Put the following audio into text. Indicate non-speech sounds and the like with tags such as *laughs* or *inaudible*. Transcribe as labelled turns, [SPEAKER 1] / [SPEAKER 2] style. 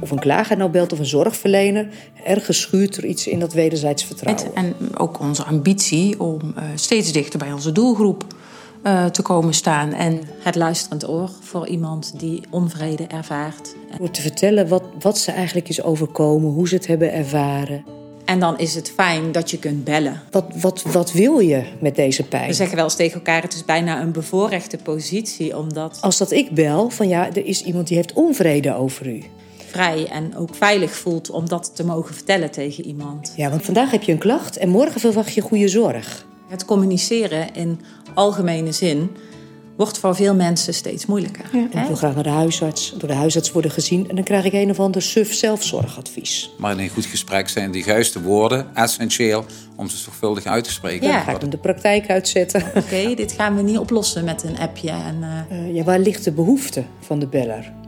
[SPEAKER 1] of een klager nou belt of een zorgverlener. Ergens schuurt er iets in dat wederzijds vertrouwen.
[SPEAKER 2] Het- en ook onze ambitie om eh, steeds dichter bij onze doelgroep eh, te komen staan. En
[SPEAKER 3] Het luisterend oor voor iemand die onvrede ervaart.
[SPEAKER 1] Door te vertellen wat, wat ze eigenlijk is overkomen, hoe ze het hebben ervaren.
[SPEAKER 3] En dan is het fijn dat je kunt bellen.
[SPEAKER 1] Wat, wat, wat wil je met deze pijn?
[SPEAKER 3] We zeggen wel eens tegen elkaar, het is bijna een bevoorrechte positie... omdat
[SPEAKER 1] Als dat ik bel, van ja, er is iemand die heeft onvrede over u.
[SPEAKER 3] vrij en ook veilig voelt om dat te mogen vertellen tegen iemand.
[SPEAKER 1] Ja, want vandaag heb je een klacht en morgen verwacht je goede zorg.
[SPEAKER 3] Het communiceren in algemene zin wordt voor veel mensen steeds moeilijker.
[SPEAKER 1] En ik wil graag naar de huisarts, door de huisarts worden gezien... en dan krijg ik een of ander suf zelfzorgadvies.
[SPEAKER 4] Maar in een goed gesprek zijn de juiste woorden essentieel om ze zorgvuldig uit te spreken.
[SPEAKER 3] Ja.
[SPEAKER 1] Ga ik dan de praktijk uitzetten? *laughs*
[SPEAKER 3] Oké, dit gaan we niet oplossen met een appje. En, eh,
[SPEAKER 1] Eh, ja, waar ligt de behoefte van de beller?